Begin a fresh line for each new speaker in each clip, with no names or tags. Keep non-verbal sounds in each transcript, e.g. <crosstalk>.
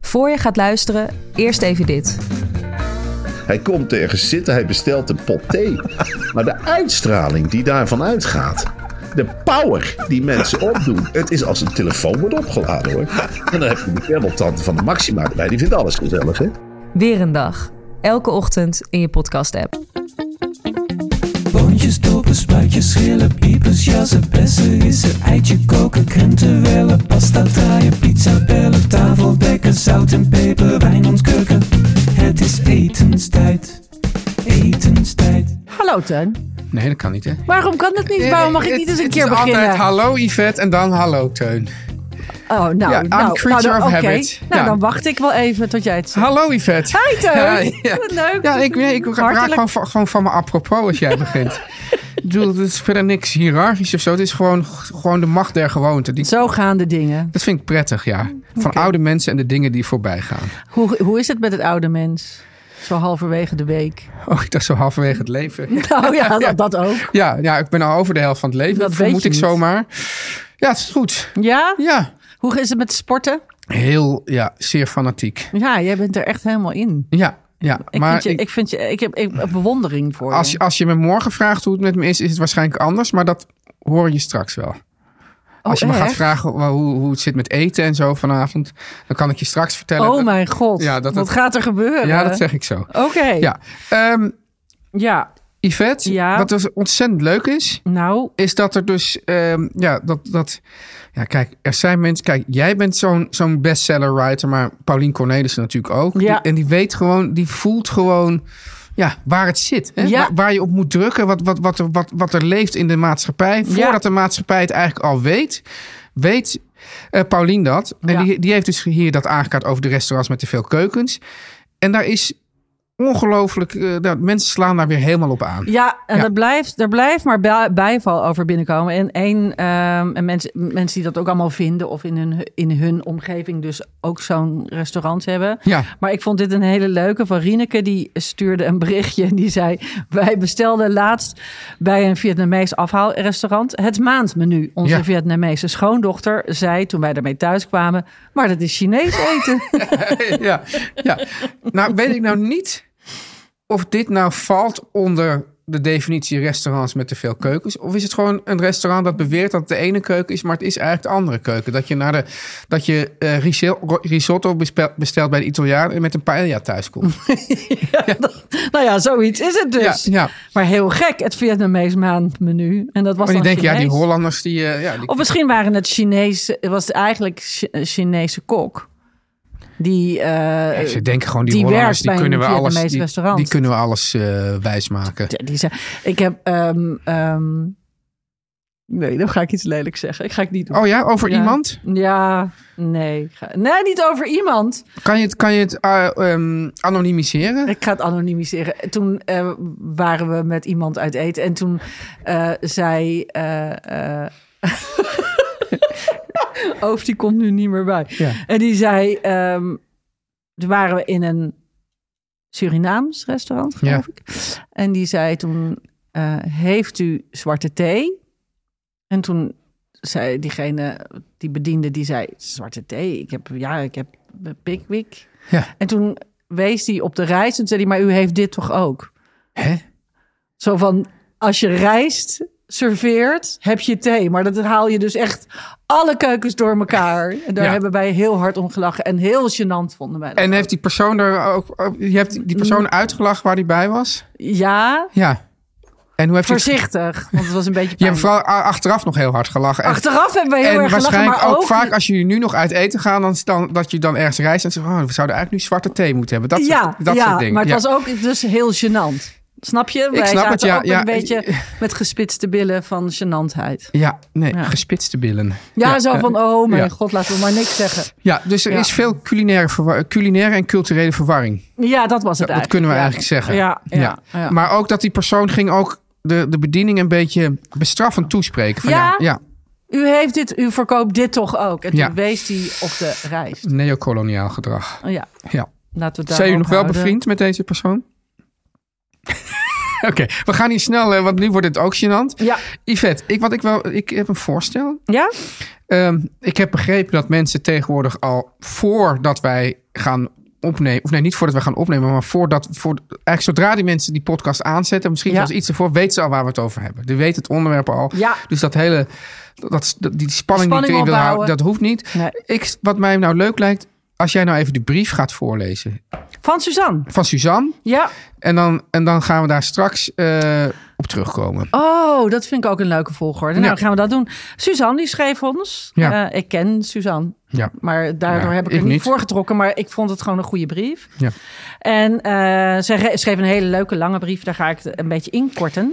Voor je gaat luisteren, eerst even dit.
Hij komt ergens zitten, hij bestelt een pot thee. Maar de uitstraling die daarvan uitgaat. De power die mensen opdoen. Het is als een telefoon wordt opgeladen hoor. En dan heb je de kermeltante van de Maxima erbij. Die vindt alles gezellig hè.
Weer een dag. Elke ochtend in je podcast-app.
Boontjes, dopen, spuitjes, schillen, piepers, jassen, bessen, rissen, eitje koken, krenten wellen, pasta draaien, pizza bellen, tafel dekken, zout en peper, wijn ontkurken. Het is etenstijd, etenstijd.
Hallo Teun.
Nee, dat kan niet, hè?
Waarom kan dat niet? Waarom mag ik niet eens een
Eh, het
keer
is
beginnen?
altijd hallo Yvette en dan hallo Teun.
Oh, nou,
Ja,
nou,
I'm
nou,
creature
dan-
of
oké.
habit.
Nou,
Ja.
dan wacht ik wel even tot jij het zegt.
Hallo Yvette.
Hi Teun.
Ja, ja.
<laughs> Wat leuk.
Ja, ik, nee, ik raak
Hartelijk.
gewoon, van- gewoon van me apropos als jij
<laughs>
begint. ik bedoel, het is verder niks hiërarchisch of zo. Het is gewoon, gewoon de macht der gewoonte. Die,
Zo gaan de dingen.
dat vind ik prettig, ja. Van oude mensen en de dingen die voorbij gaan.
Hoe, hoe is het met het oude mens? Zo halverwege de week. <laughs>
Oh, ik dacht zo halverwege het leven.
Nou
<laughs>
ja, dat, dat ook.
Ja, ja, ik ben al over de helft van het leven.
Dat
Dat
weet
vermoed
je
ik
niet.
zomaar. Ja, het is goed.
Ja?
Ja,
Hoe is het met sporten?
heel, ja, zeer fanatiek.
Ja, jij bent er echt helemaal in.
Ja, ja.
Ik,
maar
vind je,
ik-
ik, vind je, ik heb ik, heb bewondering voor
Als je,
je.
als je me morgen vraagt hoe het met me is, is het waarschijnlijk anders. Maar dat hoor je straks wel. als je me gaat
Oh, echt?
vragen wa- hoe, hoe het zit met eten en zo vanavond, dan kan ik je straks vertellen.
Oh eh,
dat-
mijn god,
Ja, dat-
wat
dat-
gaat er gebeuren?
Ja, dat zeg ik zo.
Oké,
Ja. Ehm,
ja.
Yvette,
Ja.
wat dus ontzettend leuk is,
Nou,
is dat er dus, ehm, ja, dat, dat, ja, kijk, er zijn mensen, kijk, jij bent zo'n zo'n bestseller writer, maar Paulien Cornelissen natuurlijk ook.
Ja.
Die- en die weet gewoon, die voelt gewoon, ja, waar het zit. Hè?
Ja.
Waar, waar je op moet drukken, wat, wat, wat, er, wat, wat er leeft in de maatschappij. Voordat de maatschappij het eigenlijk al weet, weet eh Paulien dat. En
Ja.
die, die heeft dus hier dat aangekaart over de restaurants met te veel keukens. En daar is ongelooflijk, eh, nou, mensen slaan daar weer helemaal op aan.
Ja, en
Ja.
Er, blijft, er blijft maar bij- bijval over binnenkomen. En één, ehm, en mensen, mensen die dat ook allemaal vinden of in hun, in hun omgeving dus ook zo'n restaurant hebben.
Ja.
Maar ik vond dit een hele leuke van Rieneke. Die stuurde een berichtje en die zei... Wij bestelden laatst bij een Vietnamees afhaalrestaurant het maandmenu. Onze
Ja.
Vietnamese schoondochter zei toen wij daarmee thuis kwamen... Maar dat is Chinees eten.
<laughs>
<laughs>
ja, ja. Nou, weet ik nou niet of dit nou valt onder de definitie restaurants met te veel keukens. Of is het gewoon een restaurant dat beweert dat het de ene keuken is, maar het is eigenlijk de andere keuken. Dat je, naar de, dat je eh, risel- ro- risotto bespe- bestelt bij de Italiaan en met een paella thuis komt.
nou ja, zoiets is het <laughs>
Ja,
dus.
ja.
Maar heel gek, het Vietnamees maandmenu. En dat was
Maar die
dan
denken, Oh, ja, die
Chinees.
Hollanders, die... eh, ja, die-
Of misschien waren het Chinese, was het eigenlijk Chi- een Chinese kok. Die, eh,
Ja, ze denken gewoon, die,
die
Hollanders,
werkt
die
bij
kunnen,
een
we alles,
Vietnamese
die,
restaurant.
die kunnen we alles eh, wijsmaken.
die, zei, ik heb, ehm, ehm, nee, dan ga ik iets lelijks zeggen. Ik ga het niet doen.
Oh ja, over
Ja.
iemand?
Ja, nee. ik ga- nee, niet over iemand.
Kan je het, kan je het eh, ehm, anonimiseren?
Ik ga het anonimiseren. Toen eh, waren we met iemand uit eten en toen eh, zei. eh, <laughs> eh, Oof, die komt nu niet meer bij.
Ja.
En die zei. ehm, toen waren we in een Surinaams restaurant, geloof
Ja.
ik. En die zei toen: eh, Heeft u zwarte thee? En toen zei diegene, die bediende, die zei: Zwarte thee? Ik heb, ja, ik heb Pickwick.
Ja.
En toen wees hij op de reis en toen zei hij: Maar u heeft dit toch ook?
Hè?
Zo van: Als je reist, serveert, heb je thee. Maar dat haal je dus echt alle keukens door elkaar. En daar
Ja.
hebben wij heel hard om gelachen. En heel gênant vonden wij dat.
En heeft die persoon er ook... ook- Je hebt die
Mm.
persoon uitgelachen waar hij bij was?
Ja,
Ja. En hoe heb je... het-
voorzichtig. Want het was een beetje
<laughs> Je hebt
pijnlijk.
vooral a- achteraf nog heel hard gelachen. En-
Achteraf hebben we heel
en
erg gelachen.
waarschijnlijk
Maar
ook,
ook,
vaak als jullie nu nog uit eten gaan, dan, dan dat je dan ergens reist en zegt, oh, we zouden eigenlijk nu zwarte thee moeten hebben. Dat,
ja,
soort, dat
ja
soort dingen.
maar het was
Ja.
ook dus heel gênant. Snap je? Wij
snap
zaten
het, ja,
ook
ja.
een beetje met gespitste billen van gênantheid.
Ja, nee,
Ja.
gespitste billen.
Ja, zo
eh,
van, oh mijn
ja.
god, laten we maar niks zeggen.
Ja, dus er
Ja.
is veel culinaire, verwar- culinaire en culturele verwarring.
Ja, dat was het
Dat
eigenlijk.
kunnen we
ja.
eigenlijk zeggen.
Ja, ja, ja.
Maar ook dat die persoon ging ook de, de bediening een beetje bestraffend toespreken. Van, ja?
Ja?
Ja,
U, heeft dit, u verkoopt dit toch ook? En toen
Ja.
wees hij op de reis.
neocoloniaal gedrag.
Oh Ja,
Ja.
laten we daar
Zijn jullie nog wel bevriend met deze persoon? <laughs> Oké, we gaan hier snel, eh, want nu wordt het ook gênant.
Ja.
Yvette, ik, wat ik, wel, ik heb een voorstel.
Ja?
Ehm, ik heb begrepen dat mensen tegenwoordig al voordat wij gaan opnemen, of nee, niet voordat wij gaan opnemen, maar voordat, voor, eigenlijk zodra die mensen die podcast aanzetten, misschien
Ja.
zelfs iets ervoor, weten ze al waar we het over hebben. Die weten het onderwerp al.
Ja.
Dus dat hele, dat, dat- die spanning, die
Spanning
ik erin wil houden,
opbouwen.
dat hoeft niet.
Nee.
Ik, wat mij nou leuk lijkt, als jij nou even de brief gaat voorlezen
Van Suzanne?
van Suzanne.
Ja.
En dan, en dan gaan we daar straks eh, op terugkomen.
Oh, dat vind ik ook een leuke volgorde. Nou,
Ja.
dan gaan we dat doen. Suzanne, die schreef ons.
Ja.
Eh, ik ken Suzanne.
Ja.
Maar daardoor
Ja,
heb ik,
ik
er niet,
niet.
voor getrokken. Maar ik vond het gewoon een goede brief.
Ja.
En eh zij re- schreef een hele leuke lange brief. Daar ga ik het een beetje inkorten.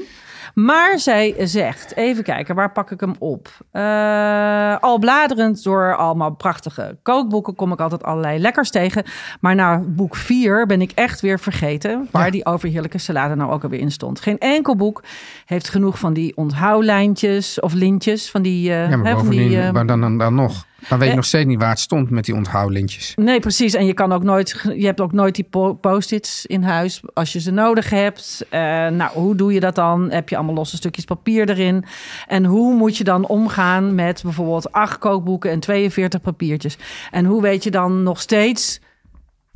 Maar zij zegt, even kijken, waar pak ik hem op? Eh, al bladerend door allemaal prachtige kookboeken kom ik altijd allerlei lekkers tegen. Maar na boek 4 ben ik echt weer vergeten waar die overheerlijke salade nou ook alweer in stond. Geen enkel boek heeft genoeg van die onthoudlijntjes of lintjes. Van die, eh,
Ja, maar
hè, van die,
bovendien,
eh,
maar dan, dan, dan nog. Dan weet je
eh,
nog steeds niet waar het stond met die onthoudlintjes.
Nee, precies. En je, kan ook nooit, je hebt ook nooit die po- post-its in huis als je ze nodig hebt. Eh, nou, hoe doe je dat dan? Heb je allemaal losse stukjes papier erin? En hoe moet je dan omgaan met bijvoorbeeld acht kookboeken en 42 papiertjes? En hoe weet je dan nog steeds,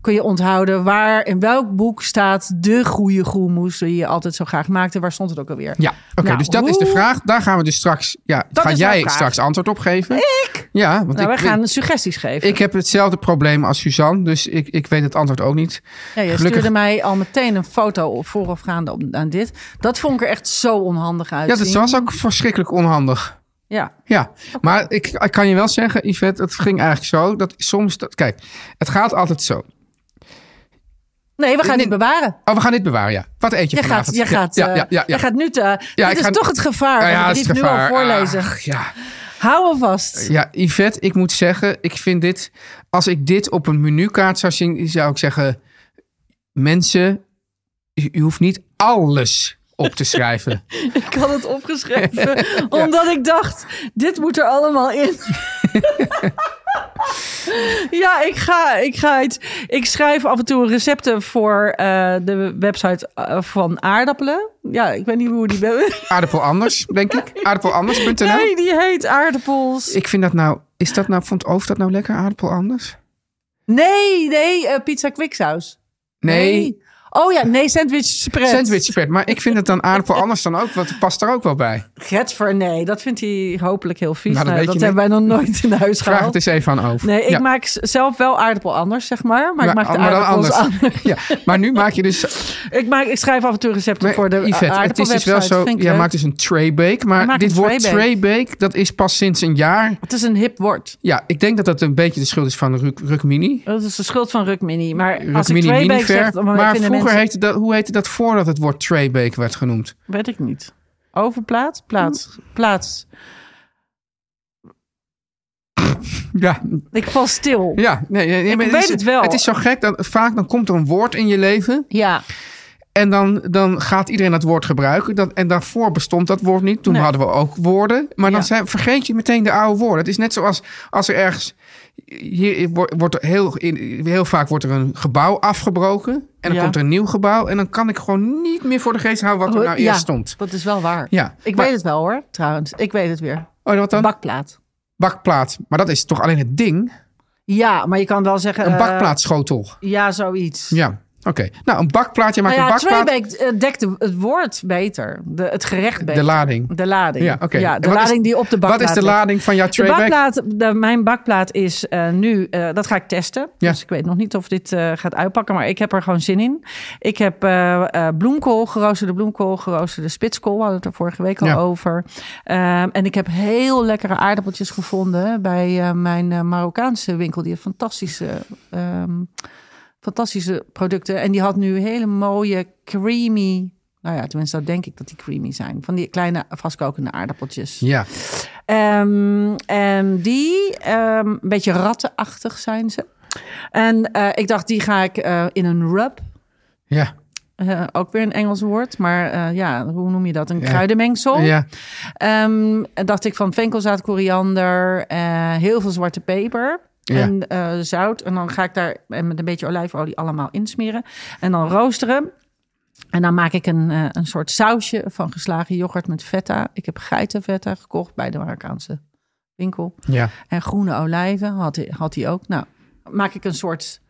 kun je onthouden waar in welk boek staat de goede groenmoes die je altijd zo graag maakte? Waar stond het ook alweer?
Ja, oké,
Nou,
dus dat is de
hoe-
vraag. Daar gaan we dus straks. Ja,
Dat
ga
is
jij
mijn vraag.
straks antwoord op geven? Ik? Ja, want
Nou,
ik,
wij
weet-
gaan suggesties geven.
ik heb hetzelfde probleem als Suzanne, dus ik, ik weet het antwoord ook niet.
Ja, je
Gelukkig-
stuurde mij al meteen een foto voorafgaande op, aan dit. Dat vond ik er echt zo onhandig uit.
Ja, dat was ook verschrikkelijk onhandig.
Ja.
Ja, maar ik, ik kan je wel zeggen, Yvette, het ging eigenlijk zo. Dat soms, dat, kijk, het gaat altijd zo.
Nee, we gaan
Nee.
het bewaren.
Oh, we gaan dit bewaren, ja. Wat eet je,
Je
vanavond?
gaat, je, gaat,
ja,
eh,
ja, ja, ja.
je gaat nu te...
Ja, ik
dit is
ga-
toch het gevaar
Ja, ja,
van
het
de
is
brief nu al
gevaar.
voorlezen.
Ach, ja.
Hou hem vast.
ja, Yvette, ik moet zeggen, ik vind dit... Als ik dit op een menukaart zou zien, zou ik zeggen... Mensen, u, u hoeft niet alles op te
<laughs>
schrijven.
Ik had het opgeschreven,
<laughs>
omdat ik dacht, dit moet er allemaal in. ja, ik ga, ik ga iets... Ik schrijf af en toe recepten voor eh, de website eh, van aardappelen. Ja, ik weet niet hoe die...
Aardappel anders, denk ik. Aardappelanders.nl.
Nee, die heet aardappels.
Ik vind dat nou... Is dat nou, vond Oof dat nou lekker, aardappel anders?
Nee, nee, eh, pizza kwiksaus.
Nee,
Oh ja, nee, sandwich spread.
sandwich spread. Maar ik vind het dan aardappel anders dan ook, want het past er ook wel bij.
Getver, nee, dat vindt hij hopelijk heel vies.
Nou, dat
Nou,
weet
dat
je
hebben wij nog nooit in huis
Vraag het
gehaald.
eens even aan Oof.
Nee, ik
Ja.
maak z- zelf wel aardappel anders, zeg maar. Maar ik maak de
maar dan
aardappels anders.
<laughs> Ja, maar nu maak je dus
Ik, maak, ik schrijf af en toe recepten
Maar
voor de
Yvette,
aardappelwebsite.
het is dus wel zo.
Vind ik
Jij
leuk.
maakt dus een traybake, maar
maak
dit
een
woord
traybake.
traybake, dat is pas sinds een jaar.
Het is een hip woord.
Ja, ik denk dat dat een beetje de schuld is van Ruk, Rukmini.
Dat is de schuld van Rukmini. Maar als ik
Rukmini
twee
Minifair.
weken zeg, dan
maar
vinden
vroeger
mensen...
heette dat, hoe heette dat voordat het woord traybake werd genoemd?
Weet ik niet. Overplaat? Plaats. Plaats.
Ja,
Ik val stil. Ja.
ja nee, nee, nee, maar
weet
is,
het wel.
Het is zo gek dat vaak dan komt er een woord in je leven en dan, dan gaat iedereen dat woord gebruiken. Dat, en daarvoor bestond dat woord niet. Toen
Nee.
hadden we ook woorden, maar dan
Ja.
zijn, vergeet je meteen de oude woorden. Het is net zoals als er ergens hier wordt wordt er heel, in- heel vaak wordt er een gebouw afgebroken. En dan
Ja.
komt er een nieuw gebouw. En dan kan ik gewoon niet meer voor de geest houden wat er nou
ja,
eerst stond.
dat is wel waar.
Ja.
Ik
Maar-
weet het wel hoor, trouwens. Ik weet het weer.
Oh, wat dan?
Bakplaat.
bakplaat. Maar dat is toch alleen het ding?
Ja, maar je kan wel zeggen...
Een
eh,
bakplaatschotel.
Ja, zoiets.
Ja. Oké, nou een bakplaatje maakt
Nou ja,
een bakplaat.
Treebeek eh, dekt de- het woord beter. De, het gerecht beter.
De lading.
De lading.
Ja, oké. En
de
wat is-
lading die op de bakplaat
Wat is de
ligt.
lading van jouw
De
Treebeek?
bakplaat, de- mijn bakplaat is eh, nu, eh, dat ga ik testen.
Ja.
Dus ik weet nog niet of dit eh, gaat uitpakken, maar ik heb er gewoon zin in. Ik heb eh, eh, bloemkool, geroosterde bloemkool, geroosterde spitskool. We hadden het er vorige week al
Ja.
over. Ehm, en ik heb heel lekkere aardappeltjes gevonden bij eh, mijn eh, Marokkaanse winkel. Die heeft fantastische, ehm, fantastische producten. En die had nu hele mooie, creamy... Nou ja, tenminste, dat denk ik dat die creamy zijn. Van die kleine vastkokende aardappeltjes.
Ja,
Ehm, en die, ehm, een beetje rattenachtig zijn ze. En eh, ik dacht, die ga ik eh, in een rub.
ja,
eh, ook weer een Engels woord, maar eh, ja, hoe noem je dat? Een
Ja.
kruidenmengsel.
ja.
Ehm, en dacht ik van venkelzaad, koriander, eh, heel veel zwarte peper
Ja.
en eh, zout. En dan ga ik daar en met een beetje olijfolie allemaal insmeren. En dan roosteren. En dan maak ik een, eh, een soort sausje van geslagen yoghurt met feta. Ik heb geitenfeta gekocht bij de Marokkaanse winkel.
ja.
En groene olijven had hij, had hij ook. Nou, maak ik een soort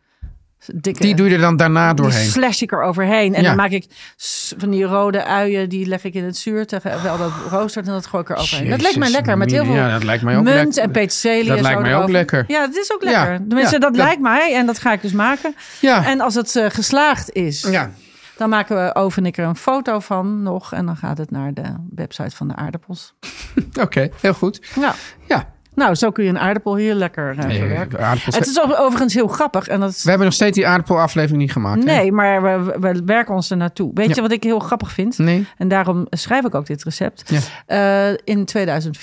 dikke...
Die doe je er dan daarna
Die
doorheen.
Dus slash ik er overheen. En
Ja.
dan maak ik s- van die rode uien, die leg ik in het zuur terwijl dat roostert en dat gooi ik er overheen. dat lijkt mij
Jezus,
lekker, met heel veel
mina, ja, dat lijkt mij ook
munt
lekker.
en peterselie.
Dat
en
lijkt
zo
mij ook
erover.
lekker.
Ja, dat is ook
Ja,
lekker. Tenminste, dat,
ja, dat-
lijkt mij en dat ga ik dus maken.
Ja,
En als het eh, geslaagd is,
ja.
dan maken we Oven en ik er een foto van nog en dan gaat het naar de website van de aardappels.
oké, heel goed.
Nou,
Ja,
nou, zo kun je een aardappel heel lekker eh,
Nee,
verwerken.
aardappels-
Het is over- overigens heel grappig en dat is
we hebben nog steeds die aardappelaflevering niet gemaakt. hè?
Nee, maar we, we werken ons er naartoe. Weet
Ja.
je wat ik heel grappig vind?
Nee.
En daarom schrijf ik ook dit recept.
Ja.
Eh, in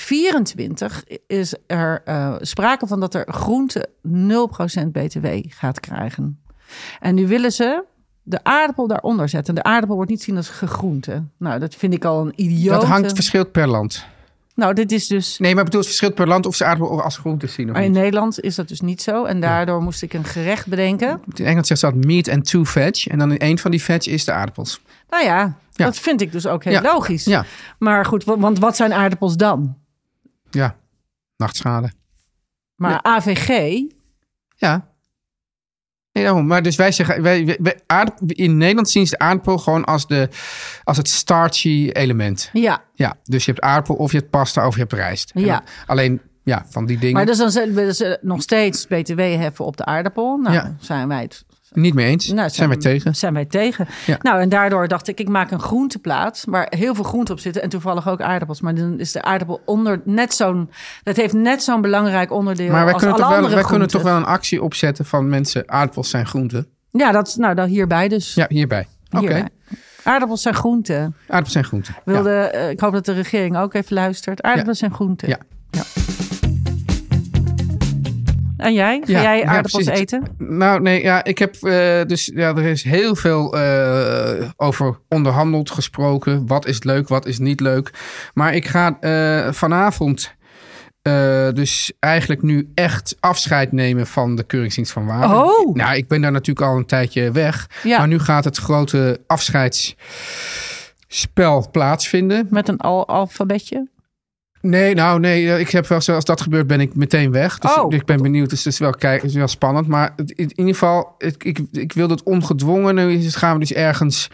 2024 is er eh, sprake van dat er groente 0% BTW gaat krijgen. En nu willen ze de aardappel daaronder zetten. En de aardappel wordt niet zien als gegroente. Nou, dat vind ik al een idioot.
Dat hangt verschilt per land.
Nou, dit is dus...
Nee, maar ik bedoel, het verschilt per land of ze aardappel als groente zien of
Maar in
niet.
Nederland is dat dus niet zo. En daardoor moest ik een gerecht bedenken.
In Engeland zegt ze dat meat and two veg. En dan in één van die veg is de aardappels.
Nou ja,
Ja.
dat vind ik dus ook heel
Ja.
logisch.
Ja,
Maar goed, wa- want wat zijn aardappels dan?
ja. Nachtschade.
Maar AVG,
Ja. Nee, daarom. Maar dus wij zeggen, wij, wij- wij- aard- in Nederland zien ze de aardappel gewoon als, de, als het starchy element.
ja.
Ja, dus je hebt aardappel of je hebt pasta of je hebt rijst. En
Ja.
dan- alleen, ja, van die dingen
Maar dus dan zullen we ze nog steeds BTW heffen op de aardappel. Nou,
Ja.
zijn wij het.
niet mee eens.
Nou,
zijn we tegen.
Zijn wij tegen.
Ja.
Nou, en daardoor dacht ik, ik maak een groenteplaat waar heel veel groente op zitten en toevallig ook aardappels. Maar dan is de aardappel onder net zo'n, dat heeft net zo'n belangrijk onderdeel
Maar wij,
als
kunnen
alle
toch, wel,
andere
wij kunnen toch
groenten.
wel een actie opzetten van mensen, aardappels zijn groenten.
Ja, dat is nou dan hierbij dus.
Ja, hierbij. Oké,
Hierbij. Aardappels zijn groenten.
aardappels zijn groenten.
Wilde,
Ja.
eh, ik hoop dat de regering ook even luistert. Aardappels zijn groenten.
Ja.
En jij? Ga
Ja,
jij
ja,
aardappels
precies.
eten?
Nou, nee, ja, ik heb eh, dus, ja, er is heel veel eh, over onderhandeld gesproken. Wat is leuk, wat is niet leuk. Maar ik ga eh, vanavond, eh, dus eigenlijk nu echt afscheid nemen van de Keuringsdienst van Waarde.
Oh!
Nou, ik ben daar natuurlijk al een tijdje weg.
Ja.
Maar nu gaat het grote afscheidsspel plaatsvinden.
Met een al alfabetje?
Nee, nou nee, ik heb wel zo- als dat gebeurt ben ik meteen weg. Dus
Oh.
ik ben benieuwd, dus het is wel, kijk, het is wel spannend. Maar het- in ieder geval, het- ik, ik wil het ongedwongen. Nu is het- gaan we dus ergens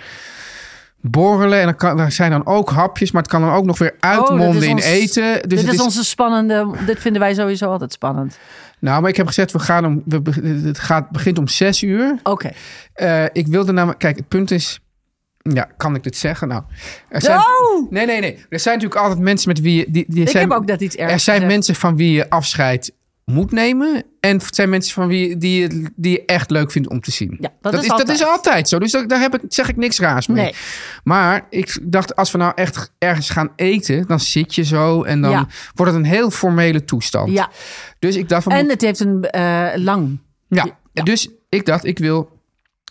borrelen. En dan kan, er zijn dan ook hapjes, maar het kan dan ook nog weer
Oh, dit
uitmonden
is ons-
in eten. Dus
dit
het
is, onze spannende. Dit vinden wij sowieso altijd spannend.
Nou, maar ik heb gezegd, we gaan om, we, be- het gaat, begint om zes uur.
Oké.
Eh, ik wilde namelijk, kijk, het punt is. Ja, kan ik dit zeggen? Nou, er zijn,
Oh!
nee, nee, nee. Er zijn natuurlijk altijd mensen met wie je. Die, die
Ik
zijn,
heb ook net iets ergs
Er zijn
gezegd.
mensen van wie je afscheid moet nemen. En het zijn mensen van wie je- die, je- die je echt leuk vindt om te zien.
Ja, dat is
dat is
altijd.
altijd zo. Dus dat- daar heb ik, zeg ik niks raars mee.
Nee.
Maar ik dacht, als we nou echt ergens gaan eten, dan zit je zo. En dan
Ja.
wordt het een heel formele toestand.
Ja.
Dus ik dacht, we
En het heeft een eh, lang.
ja, dus ik dacht, ik wil.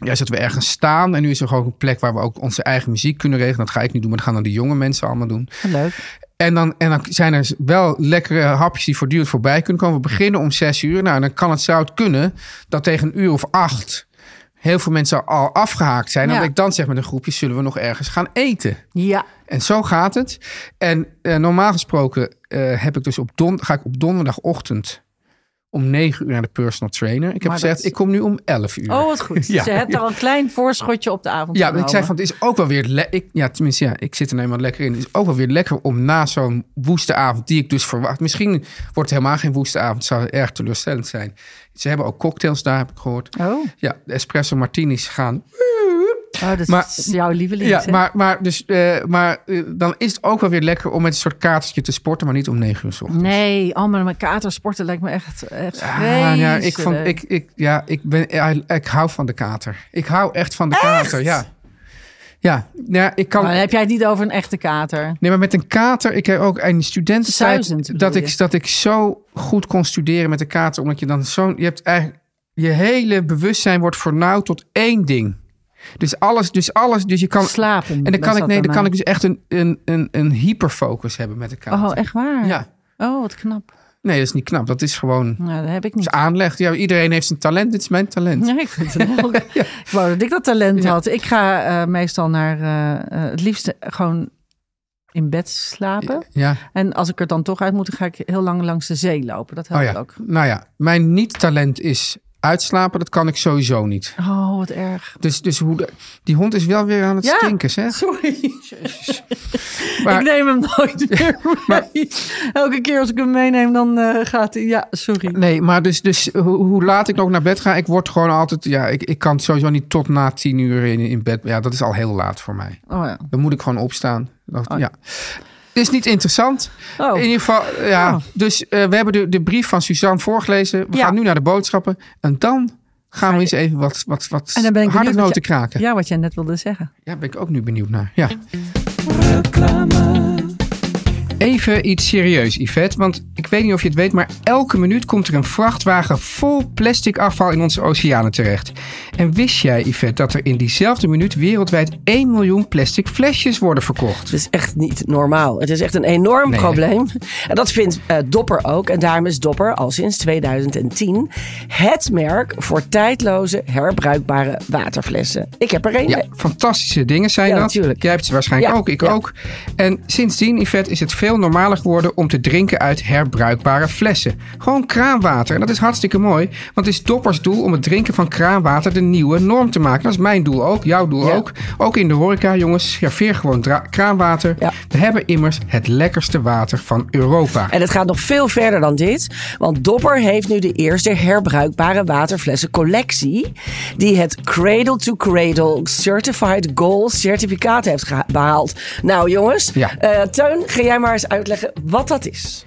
Juist dat we ergens staan. En nu is er gewoon een plek waar we ook onze eigen muziek kunnen regelen. Dat ga ik niet doen, maar dat gaan dan de jonge mensen allemaal doen.
Leuk.
En dan, en dan zijn er wel lekkere hapjes die voortdurend voorbij kunnen komen. We beginnen om zes uur. Nou, dan kan het, zou het kunnen dat tegen een uur of acht heel veel mensen al afgehaakt zijn. En
Ja.
dat ik dan zeg met een groepje, zullen we nog ergens gaan eten?
Ja.
En zo gaat het. En eh, normaal gesproken eh, heb ik dus op don ga ik op donderdagochtend om negen uur naar de personal trainer. Ik heb
Maar
gezegd,
dat-
ik kom nu om elf uur.
Oh, wat goed.
Ja.
Dus je hebt al een klein voorschotje op de avond
Ja, want ik zei
genomen.
van het is ook wel weer le- ik, Ja, tenminste, ja, ik zit er nou eenmaal lekker in. Het is ook wel weer lekker om na zo'n woeste avond, die ik dus verwacht. Misschien wordt het helemaal geen woeste avond, zou erg teleurstellend zijn. Ze hebben ook cocktails daar, heb ik gehoord.
Oh,
Ja, de espresso martinis gaan.
oh dat
Maar-
is jouw lieveling.
Ja, maar, maar, dus, eh, maar eh, dan is het ook wel weer lekker om met een soort katertje te sporten, maar niet om negen uur 's ochtends.
Nee, oh, maar mijn katersporten lijkt me echt, echt
Ah, ja, ik,
vond
vond, ik, ik, ja, ik, ben, ik, ik hou van de kater. Ik hou echt van de kater, ja. Ja, ja, ik kan...
Maar dan Oh, heb jij het niet over een echte kater.
Nee, maar met een kater. Ik heb ook in
Suizend bedoel
studententijd dat
je?
ik, dat ik zo goed kon studeren met een kater. Omdat je dan zo'n... Je hebt eigenlijk... Je hele bewustzijn wordt vernauwd tot één ding. Dus alles, dus alles. Dus je kan...
Slapen.
En dan
was
kan ik,
dat
nee,
bij
dan kan
mij.
ik dus echt een, een, een, een hyperfocus hebben met een kater.
Oh, echt waar?
Ja.
Oh, wat knap.
Nee, dat is niet knap. Dat is gewoon... dat
Nou, dat heb ik
is
niet.
aanleg. Ja, iedereen heeft zijn talent. Dit is mijn talent.
Nee, ik vind het <laughs> wel. Ik wou dat ik dat talent had. Ik ga eh, meestal naar eh, eh, het liefst gewoon in bed slapen.
Ja.
En als ik er dan toch uit moet, dan ga ik heel lang langs de zee lopen. Dat
Oh
helpt
ja.
ook.
Nou ja, mijn niet-talent is uitslapen. Dat kan ik sowieso niet.
Oh, wat erg.
Dus, dus hoe de- die hond is wel weer aan het
Ja.
stinken, zeg.
<laughs> Sorry.
Maar-
ik neem hem <laughs> nooit meer mee. Elke keer als ik hem meeneem, dan eh, gaat hij... Ja, sorry.
Nee, maar dus, dus hoe, hoe laat ik nog naar bed ga, ik word gewoon altijd... Ja, ik, ik kan sowieso niet tot na tien uur in, in bed. Ja, dat is al heel laat voor mij.
Oh, ja.
Dan moet ik gewoon opstaan. Dat, ja. Het is niet interessant.
Oh.
In ieder geval, ja.
Oh.
Dus eh, we hebben de, de brief van Suzanne voorgelezen. We
Ja.
gaan nu naar de boodschappen. En dan gaan we eens even wat, wat, wat
En dan ben ik
harde
benieuwd wat
noten
je-
kraken. Ja.
ja, wat jij net wilde zeggen.
ben ik ook nu benieuwd naar. Ja. Even iets serieus, Yvette. Want ik weet niet of je het weet, maar elke minuut komt er een vrachtwagen vol plastic afval in onze oceanen terecht. En wist jij, Yvette, dat er in diezelfde minuut wereldwijd 1 miljoen plastic flesjes worden verkocht?
Het is echt niet normaal. Het is echt een enorm
Nee, hè?
probleem. En dat vindt eh, Dopper ook. En daarom is Dopper al sinds 2010 het merk voor tijdloze herbruikbare waterflessen. Ik heb er één.
Ja, fantastische dingen zijn
Ja,
dat.
natuurlijk.
Jij hebt ze waarschijnlijk
Ja,
ook, ik
ja.
ook. En sindsdien, Yvette, is het veel normaler geworden om te drinken uit herbruikbare flessen. Gewoon kraanwater. En dat is hartstikke mooi. Want het is Doppers doel om het drinken van kraanwater de nieuwe norm te maken. Dat is mijn doel ook, jouw doel
Ja.
ook. Ook in de horeca, jongens. Serveer gewoon dra- kraanwater.
Ja.
We hebben immers het lekkerste water van Europa.
En het gaat nog veel verder dan dit. Want Dopper heeft nu de eerste herbruikbare waterflessencollectie. Die het Cradle to Cradle Certified Gold certificaat heeft geha- behaald. Nou jongens,
Ja.
eh, Teun, ga jij maar eens uitleggen wat dat is.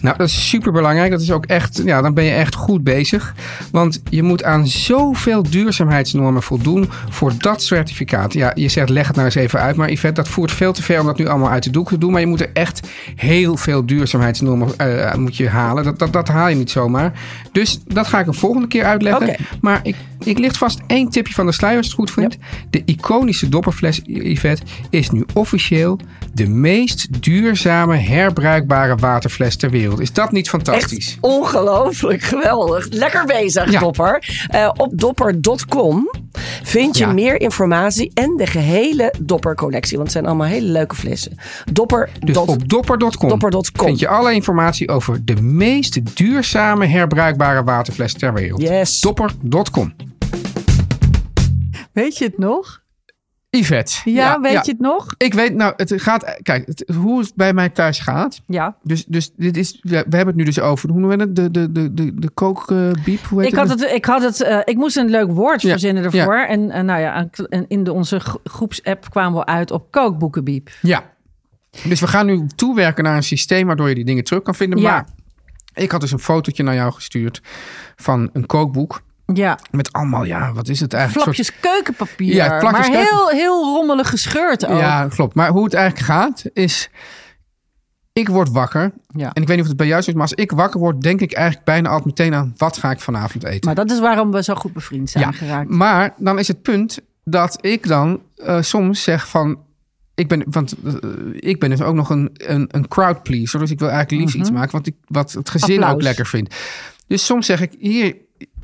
Nou, dat is super belangrijk. Dat is ook echt, ja, dan ben je echt goed bezig. Want je moet aan zoveel duurzaamheidsnormen voldoen voor dat certificaat. Ja, je zegt leg het nou eens even uit. Maar Yvette, dat voert veel te ver om dat nu allemaal uit de doek te doen. Maar je moet er echt heel veel duurzaamheidsnormen eh, moet je halen. Dat, dat, dat haal je niet zomaar. Dus dat ga ik een volgende keer uitleggen.
Oké.
Maar ik, ik licht vast één tipje van de sluier als je het goed vindt. De iconische dopperfles Yvette is nu officieel de meest duurzame herbruikbare waterfles ter wereld. Is dat niet fantastisch?
Echt ongelooflijk geweldig. Lekker bezig,
Ja.
Dopper. Eh, op dopper.com vind je
Ja.
meer informatie en de gehele Dopper-collectie. Want het zijn allemaal hele leuke flessen. Dopper.
Dus
dot-
op dopper.com,
dopper.com.
vind je alle informatie over de meest duurzame herbruikbare waterfles ter wereld.
Yes.
Dopper.com.
Weet je het nog?
Yvette.
Ja, weet je het nog?
Ik weet, nou, het gaat, kijk, het- hoe het bij mij thuis gaat.
Ja.
Dus, dus dit is, we hebben het nu dus over, hoe noemen we het? De, de, de, de, de kookbiep, hoe heet
Ik had het, ik had het, eh, ik moest een leuk woord
Ja,
verzinnen
ja.
ervoor. En eh, nou ja, aan- en in de, onze gro- groepsapp kwamen we uit op kookboekenbiep.
Ja. Dus we gaan nu toewerken naar een systeem waardoor je die dingen terug kan vinden.
Ja.
Maar ik had dus een fotootje naar jou gestuurd van een kookboek.
Ja,
Met allemaal, ja, wat is het eigenlijk? Een
flapjes keukenpapier.
Ja, flapjes
maar
keuken-
heel, oh. heel rommelig gescheurd ook.
Soort, ja, klopt. Maar hoe het eigenlijk gaat is... Ik word wakker.
Ja.
En ik weet niet of het bij jou zo is, maar als ik wakker word... denk ik eigenlijk bijna altijd meteen aan... wat ga ik vanavond eten?
Maar dat is waarom we zo goed bevriend zijn
Ja,
geraakt.
Maar dan is het punt dat ik dan eh, soms zeg van... Ik ben, want eh, ik ben dus ook nog een, een, een crowd pleaser. Dus ik wil eigenlijk liefst iets maken wat, ik, wat het gezin
Mhm. Applaus.
ook lekker vindt. Dus soms zeg ik, hier,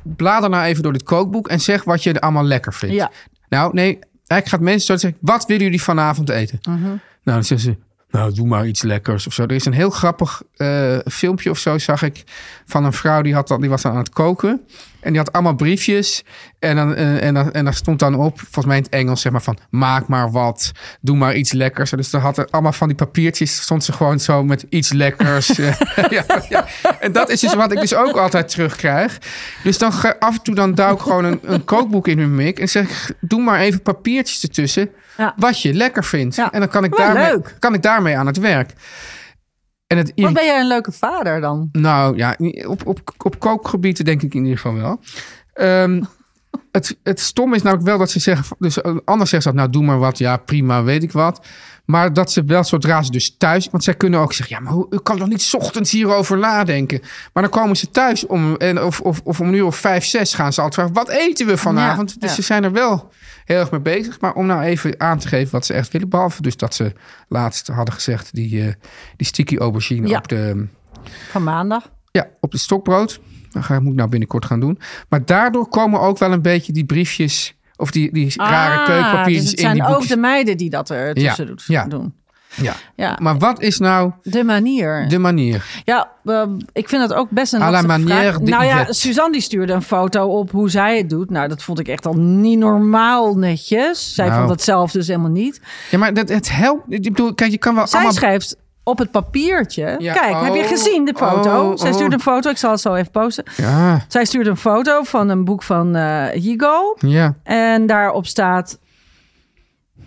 blader nou even door dit kookboek... en zeg wat je er allemaal lekker vindt.
Ja.
Nou, nee, eigenlijk gaat mensen zo zeggen... wat willen jullie vanavond eten? Nou, dan zeggen ze, nou doe maar iets lekkers of zo. Er is een heel grappig eh, filmpje of zo, zag ik, van een vrouw die, had dan, die was dan aan het koken. En die had allemaal briefjes. En dan, eh, en, dan, en dan stond dan op, volgens mij in het Engels, zeg maar van maak maar wat, doe maar iets lekkers. Dus dan had er allemaal van die papiertjes, stond ze gewoon zo met iets lekkers.
<laughs>
Eh, <laughs> ja, ja. En dat is dus wat ik dus ook altijd terugkrijg. Dus dan ga, af en toe dan duik ik gewoon een, een kookboek in hun mik en zeg ik, doe maar even papiertjes ertussen
Ja.
wat je lekker vindt.
Ja.
En dan kan ik,
Wel
daarmee,
leuk.
kan ik daarmee aan het werk. En het
Wat ben jij een leuke vader dan?
nou ja, op, op, op kookgebieden denk ik in ieder geval wel.
<laughs>
Ehm, het, het stom is namelijk wel dat ze zeggen... Dus anders zeggen ze dat, nou doe maar wat, ja prima, weet ik wat. Maar dat ze wel zodra ze dus thuis... Want zij kunnen ook zeggen, ja maar hoe, ik kan toch niet 's ochtends hierover nadenken. Maar dan komen ze thuis om, en of, of, of om een uur of vijf, zes gaan ze altijd vragen... wat eten we vanavond?
Ja,
dus
ja.
ze zijn er wel heel erg mee bezig. Maar om nou even aan te geven wat ze echt willen... behalve dus dat ze laatst hadden gezegd... die, eh, die sticky aubergine
Ja.
op de...
Van maandag?
Ja, op de stokbrood. Dat ga, moet ik nou binnenkort gaan doen. Maar daardoor komen ook wel een beetje die briefjes... of die, die rare
Ah,
keukenpapiertjes
dus het
in
zijn
die
ook
boekjes.
de meiden die dat
eh,
er tussen
Ja,
doet-
ja.
doen.
Ja.
Ja,
Maar wat is nou
de manier.
de manier?
Ja, ehm, ik vind dat ook best een
À la
lastige
manière
vraag.
de
Nou ja,
Yvette.
Suzanne die stuurde een foto op hoe zij het doet. Nou, dat vond ik echt al niet normaal netjes. Zij
Nou.
vond dat zelf dus helemaal niet.
Ja, maar dat, het helpt... Ik bedoel, kijk, je kan wel
Zij
allemaal...
schrijft op het papiertje.
Ja,
Kijk, heb je
oh,
gezien de foto?
oh,
zij
oh.
stuurde een foto, ik zal het zo even posten.
Ja,
Zij stuurde een foto van een boek van eh Higo.
ja.
En daarop staat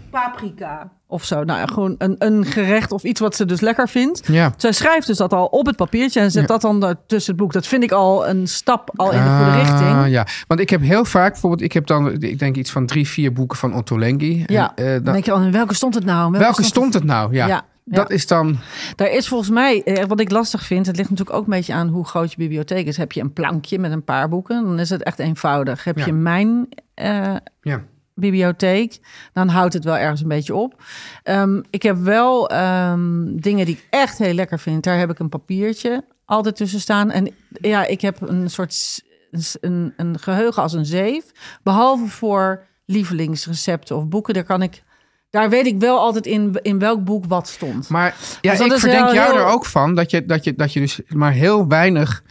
paprika of zo. Nou ja, gewoon een, een gerecht of iets wat ze dus lekker vindt.
Ja.
Zij schrijft dus dat al op het papiertje en zet
Ja.
dat dan daar tussen het boek. Dat vind ik al een stap al in de goede
Ah,
richting.
Ja, want ik heb heel vaak bijvoorbeeld... ik heb dan, ik denk iets van drie, vier boeken van Otto Lengi.
Ja,
En, eh, dan-
dan denk je al, in welke stond het nou? In
welke stond het nou? Ja,
Ja, ja.
dat is dan...
Daar is volgens mij, eh, wat ik lastig vind, het ligt natuurlijk ook een beetje aan hoe groot je bibliotheek is. Heb je een plankje met een paar boeken, dan is het echt eenvoudig. Heb
Ja.
je mijn eh,
Ja.
bibliotheek, dan houdt het wel ergens een beetje op. Ehm, ik heb wel ehm, dingen die ik echt heel lekker vind. Daar heb ik een papiertje altijd tussen staan. En ja, ik heb een soort s- een, een geheugen als een zeef. Behalve voor lievelingsrecepten of boeken, daar kan ik. Daar weet ik wel altijd in, in welk boek wat stond.
Maar ja,
Dus dat
ik
is
verdenk
wel
jou
heel-
er ook van dat je, dat je, dat je dus maar heel weinig.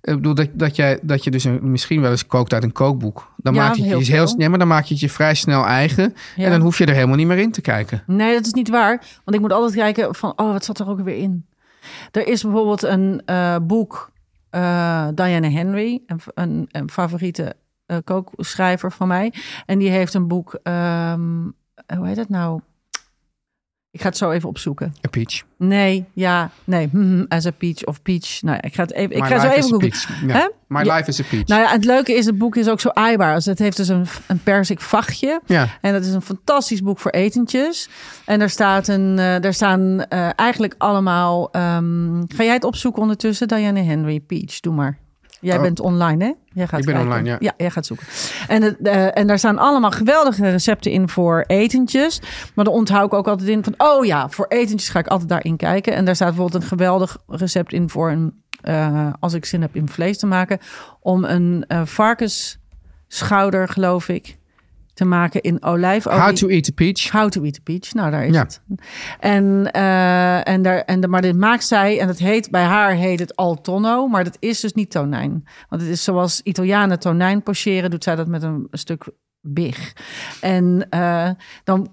Ik bedoel, dat, dat, jij, dat je dus een- misschien wel eens kookt uit een kookboek. Dan
Ja,
maak je het
heel
je heel,
veel.
nee, maar dan maak je het je vrij snel eigen.
Ja.
En dan hoef je er helemaal niet meer in te kijken.
Nee, dat is niet waar. Want ik moet altijd kijken van, oh, wat zat er ook weer in? Er is bijvoorbeeld een eh, boek, eh Diana Henry, een, een, een favoriete eh, kookschrijver van mij. En die heeft een boek, ehm, hoe heet dat nou? Ik ga het zo even opzoeken.
A peach.
Nee, ja, nee, hmm, as a peach of peach. Nou, ja, ik ga het even, ik
My
ga zo
life
even
is a
googlen.
peach.
Hè?
Ja. My
Ja.
life is a peach.
Nou ja, het leuke is, het boek is ook zo aaibaar. Dus het heeft dus een, een persik vachtje.
ja.
En dat is een fantastisch boek voor etentjes. En daar, staat een, eh, daar staan eh, eigenlijk allemaal... ehm, ga jij het opzoeken ondertussen? Diane Henry, Peach, doe maar. Jij
Oh.
bent online, hè? Jij gaat
Ik ben
kijken.
online, ja.
jij gaat zoeken. En, het, eh, en daar staan allemaal geweldige recepten in voor etentjes. Maar daar onthoud ik ook altijd in van... Oh ja, voor etentjes ga ik altijd daarin kijken. En daar staat bijvoorbeeld een geweldig recept in voor een... eh, als ik zin heb in vlees te maken... om een eh, varkensschouder, geloof ik... te maken in olijfolie.
How to eat a peach.
oh, How to Eat the Peach. Nou, daar is
Ja.
het. En, eh, en daar, en, de- maar dit maakt zij, en dat heet, bij haar heet het al tonno, maar dat is dus niet tonijn. Want het is zoals Italianen tonijn pocheren, doet zij dat met een, stuk big. En eh, dan,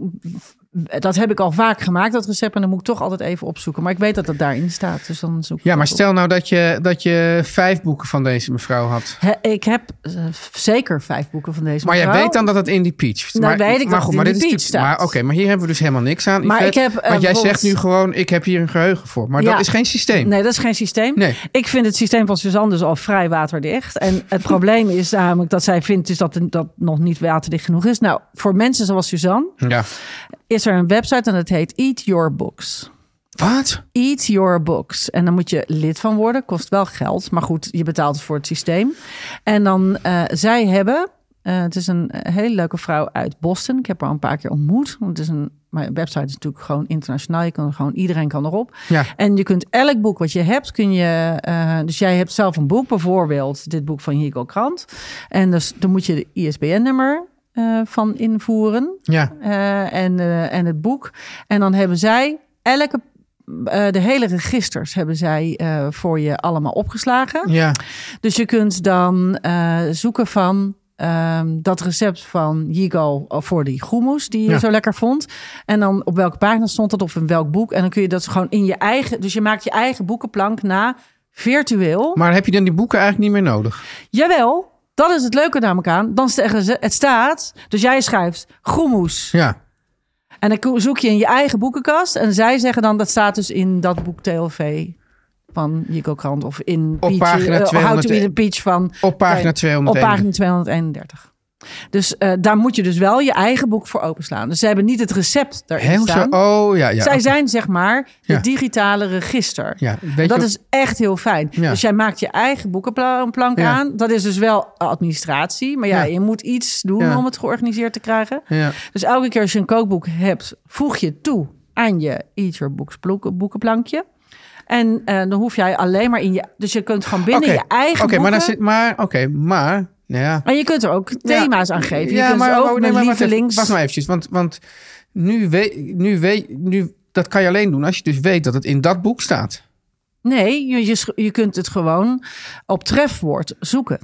dat heb ik al vaak gemaakt, dat recept, en dan moet ik toch altijd even opzoeken. Maar ik weet dat dat daarin staat, dus dan zoek ik
Ja,
dat
maar
op.
stel nou dat je, dat je vijf boeken van deze mevrouw had.
Hè, ik heb eh, zeker vijf boeken van deze
Maar jij
mevrouw.
weet dan dat het in die peach.
Nou, weet ik dat het in
maar
die
dit is
peach
natuurlijk-
staat.
Maar, oké, maar hier hebben we dus helemaal niks aan.
Maar
Yvette,
ik heb, eh,
want jij zegt
bijvoorbeeld-
nu gewoon, ik heb hier een geheugen voor. Maar
Ja.
dat is geen systeem.
Nee, dat is geen systeem.
Nee.
Ik vind het systeem van Suzanne dus al vrij waterdicht. En het probleem is namelijk dat zij vindt dus dat dat nog niet waterdicht genoeg is. Nou, voor mensen zoals Suzanne
Ja.
is er een website en het heet Eat Your Books.
Wat?
Eat Your Books. En dan moet je lid van worden. Kost wel geld. Maar goed, je betaalt voor het systeem. En dan, eh, zij hebben... eh, het is een eh, hele leuke vrouw uit Boston. Ik heb haar al een paar keer ontmoet. Want het is een, mijn website is natuurlijk gewoon internationaal. Je kan gewoon, iedereen kan erop.
Ja.
En je kunt elk boek wat je hebt, kun je... eh, dus jij hebt zelf een boek, bijvoorbeeld dit boek van Hugo Krant. En dus, dan moet je de ISBN-nummer eh, van invoeren.
Ja.
Eh, en, eh, en het boek. En dan hebben zij elke
eh, de hele registers hebben zij eh, voor je allemaal opgeslagen.
Ja.
Dus je kunt dan eh, zoeken van ehm, dat recept van Yigal eh, voor die hummus die je
Ja.
zo lekker vond. En dan op welke pagina stond dat of in welk boek. En dan kun je dat gewoon in je eigen... Dus je maakt je eigen boekenplank na, virtueel.
Maar heb je dan die boeken eigenlijk niet meer nodig?
Jawel, dat is het leuke namelijk aan. Dan zeggen ze, het staat... Dus jij schrijft hummus.
Ja.
En dan ko- zoek je in je eigen boekenkast. En zij zeggen dan, dat staat dus in dat boek TLV van Jico Krant. Of in
Op
Peach,
pagina
eh, How to
201.
Eat a Peach van...
Op pagina
Nee,
200.
Op pagina 231. Dus eh, daar moet je dus wel je eigen boek voor openslaan. Dus ze hebben niet het recept daarin
Heel zo.
staan.
Oh ja, ja.
Zij
oké.
zijn zeg maar
Ja.
het digitale register.
Ja, weet
dat
je-
is echt heel fijn.
Ja.
Dus jij maakt je eigen boekenplank
Ja.
aan. Dat is dus wel administratie. Maar ja,
Ja.
je moet iets doen
Ja.
om het georganiseerd te krijgen.
Ja.
Dus elke keer als je een kookboek hebt, voeg je toe aan je Eat Your Books boek- boekenplankje. En eh, dan hoef jij alleen maar in je... Dus je kunt gewoon binnen
Oké.
je eigen
Oké, maar
boeken...
dan zit maar. Oké, maar. Nou ja.
En je kunt er ook thema's aan geven. Je kunt ze ook
oh,
met
maar wacht even,
lievelings...
Wacht maar eventjes, want, want nu weet, nu weet, nu, dat kan je alleen doen als je dus weet dat het in dat boek staat.
Nee, je, je, sch- je kunt het gewoon op trefwoord zoeken.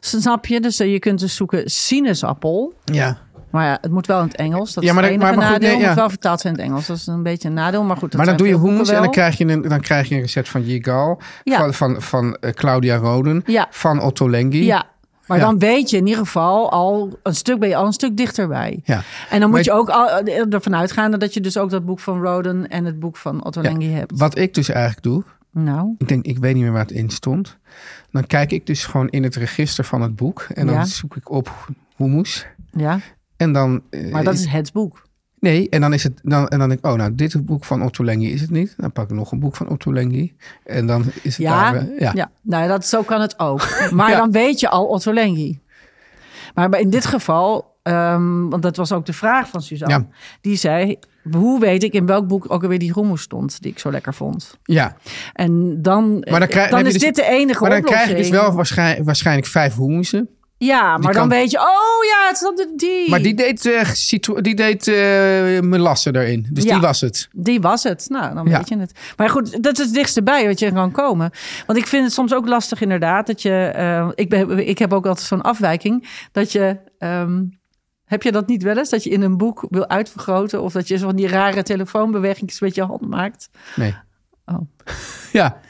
Snap je? Dus eh, je kunt dus zoeken sinaasappel.
Ja.
Maar ja, het moet wel in het Engels. Dat
Ja, maar
is
dat-
het enige
maar- maar goed, nee,
nadeel. Het
ja.
moet wel vertaald zijn in het Engels. Dat is een beetje een nadeel. Maar goed, dat
maar dan
zijn
doe je
veel boeken
hummus en dan
wel.
krijg, je een, dan krijg je een recept van Yigal,
Ja.
van, van, van eh, Claudia Roden,
Ja.
van Otto Lengi.
Ja, maar
Ja.
dan weet je in ieder geval al een stuk, ben je al een stuk dichterbij.
Ja.
En dan
Maar
moet je
ik-
ook al, eh, ervan uitgaan dat je dus ook dat boek van Roden en het boek van Otto Lengi hebt.
Wat ik dus eigenlijk doe,
Nou,
ik denk, ik weet niet meer waar het in stond. Dan kijk ik dus gewoon in het register van het boek en dan
Ja.
zoek ik op hummus.
ja,
En dan, eh,
maar dat is het boek.
Nee, en dan is het dan, en dan denk ik, oh, nou, dit boek van Otto Lengi is het niet. Dan pak ik nog een boek van Otto Lengi. En dan is het
Ja,
daar,
ja.
eh, ja.
nou dat, zo kan het
<laughs>
ook. Maar
Ja.
dan weet je al Otto Lengi. Maar bij- in dit geval, ehm, want dat was ook de vraag van Suzanne.
Ja.
Die zei, hoe weet ik in welk boek ook alweer die roemoes stond die ik zo lekker vond?
Ja.
En dan,
Maar dan, krijg, dan
is
heb je dus-
dit de enige
Maar dan krijg
oplossing.
je dus wel waarschijnlijk, waarschijnlijk vijf hoemsen.
Ja, maar dan
kan-
weet je, oh ja, het stond er die.
Maar die deed, eh situ- die deed eh, melasse erin. Dus
Ja.
die was het.
Die was het. Nou, dan
Ja.
weet je het. Maar goed, dat is het dichtste bij wat je kan komen. Want ik vind het soms ook lastig inderdaad dat je... eh, ik, ben, ik heb ook altijd zo'n afwijking dat je... ehm, heb je dat niet wel eens? Dat je in een boek wil uitvergroten of dat je zo van die rare telefoonbewegingen met je hand maakt?
Nee.
Oh.
<laughs> Ja.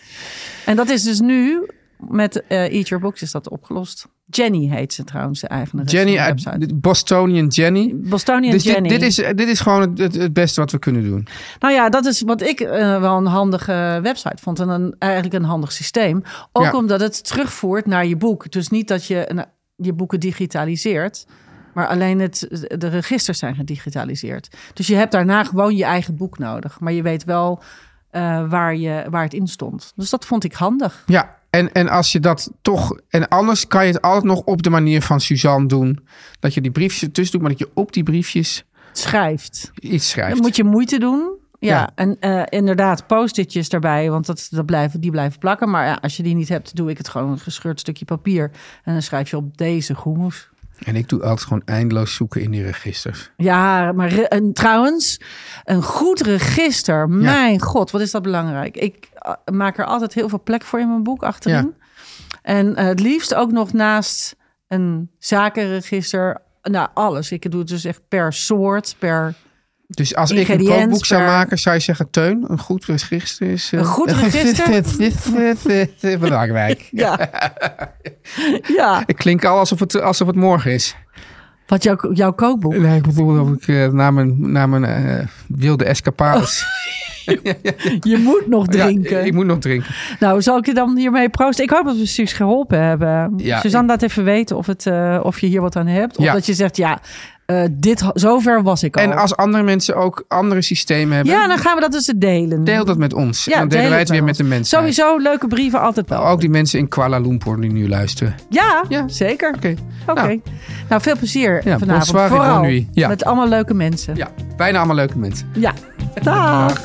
En dat is dus nu met eh Eat Your Books is dat opgelost. Jenny heet ze trouwens, de eigenaar
Jenny,
van de
uit-
website.
Bostonian Jenny.
Bostonian
Dus
Jenny.
dit, dit, is, dit is gewoon het, het, het beste wat we kunnen doen.
Nou ja, dat is wat ik eh, wel een handige website vond. En een, eigenlijk een handig systeem. Ook
Ja.
omdat het terugvoert naar je boek. Dus niet dat je een- je boeken digitaliseert. Maar alleen het, de registers zijn gedigitaliseerd. Dus je hebt daarna gewoon je eigen boek nodig. Maar je weet wel eh, waar, je, waar het in stond. Dus dat vond ik handig.
Ja, en, en als je dat toch. En anders kan je het altijd nog op de manier van Suzanne doen. Dat je die briefjes ertussen doet, maar dat je op die briefjes
Schrijft.
iets schrijft.
Dan moet je moeite doen. Ja,
Ja.
en eh, inderdaad, post-itjes erbij, want dat, dat blijven, die blijven plakken. Maar ja, als je die niet hebt, doe ik het gewoon een gescheurd stukje papier. En dan schrijf je op deze groemoes.
En ik doe altijd gewoon eindeloos zoeken in die registers.
Ja, maar re- en trouwens, een goed register. Mijn god, wat is dat belangrijk. Ik eh, maak er altijd heel veel plek voor in mijn boek achterin. En eh, het liefst ook nog naast een zakenregister. Nou, alles. Ik doe het dus echt per soort, per...
Dus als ik een
Ingrediënts
kookboek zou
per-
maken, zou je zeggen: Teun, een goed register is. eh,
Een
<laughs>
goed
register? Belangrijk.
Ja. <laughs> ja.
Ik klink al alsof het, alsof het morgen is.
Wat jouw, jouw kookboek?
Nee, ik bedoel dat ik eh, na mijn, na mijn eh, wilde
<laughs>
escapades.
Je moet nog
Ja,
Oh, drinken.
ik moet nog drinken.
Nou, zal ik je dan hiermee proosten? Ik hoop dat we Suus geholpen hebben.
Ja,
Suzanne, laat even weten of, het, eh, of je hier wat aan hebt. Of
Ja.
dat je zegt, ja, eh, dit, ho- zover was ik al.
En als andere mensen ook andere systemen hebben,
ja, dan gaan we dat dus delen.
deel dat met ons.
ja,
en dan delen wij het weer
met
met de
ons.
mensen.
Sowieso leuke brieven altijd wel.
Ook die mensen in Kuala Lumpur die nu luisteren.
Ja,
Ja.
zeker.
Oké.
Oké.
Nou.
Nou, veel plezier
Ja,
vanavond.
bonsoir et
Vooral
bonne nuit. Ja.
met allemaal leuke mensen.
Ja, bijna allemaal leuke mensen.
ja. Dag.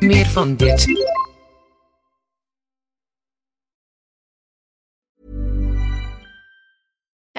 Meer van dit.
Ever